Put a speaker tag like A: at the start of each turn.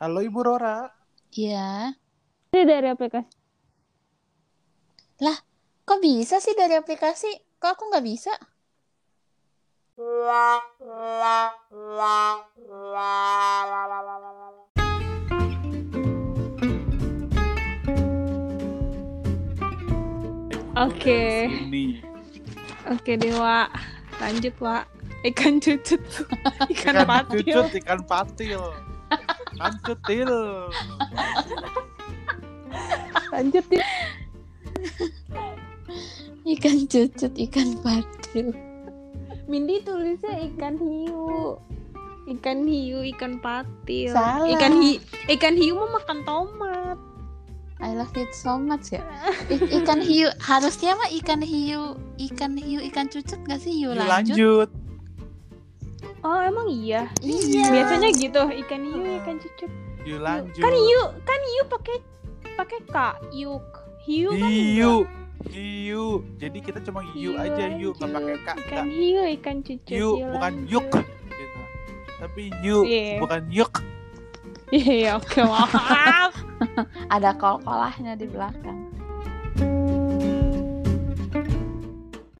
A: Halo Ibu Rora.
B: Iya.
C: Ini dari aplikasi.
B: Lah, kok bisa sih dari aplikasi? Kok aku nggak bisa?
C: Oke.
A: Ini
C: Oke Dewa. Lanjut, Wak. Ikan cucut. Ikan
A: ikan cucut,
C: patil.
A: ikan kan patil. Ikan cutil.
C: Lanjut, Dit.
B: Ikan cucut, ikan patil.
C: Mindi tulisnya ikan hiu. Ikan hiu, ikan patil.
B: Salah.
C: Ikan hiu, ikan hiu mah makan tomat.
B: I love it so much ya. I- ikan hiu harusnya mah ikan hiu, ikan hiu, ikan cucut nggak sih hiu lanjut?
A: Lanjut.
C: Oh, emang iya.
B: Iya.
C: Biasanya gitu, ikan hiu, ikan cucut.
A: Yuk lanjut.
C: Kan hiu, kan hiu pakai pakai k, yuk. Hiu kan
A: Hiu. Hiu. Jadi kita cuma hiu aja hiu, nggak pakai
C: lanjut.
A: kak.
C: Ikan hiu, ikan cucut.
A: Hiu bukan
C: lanjut.
A: yuk. Gitu. Tapi hiu
C: Iya.
A: bukan yuk.
C: Iya, oke, maaf.
B: Ada kol-kolahnya di belakang.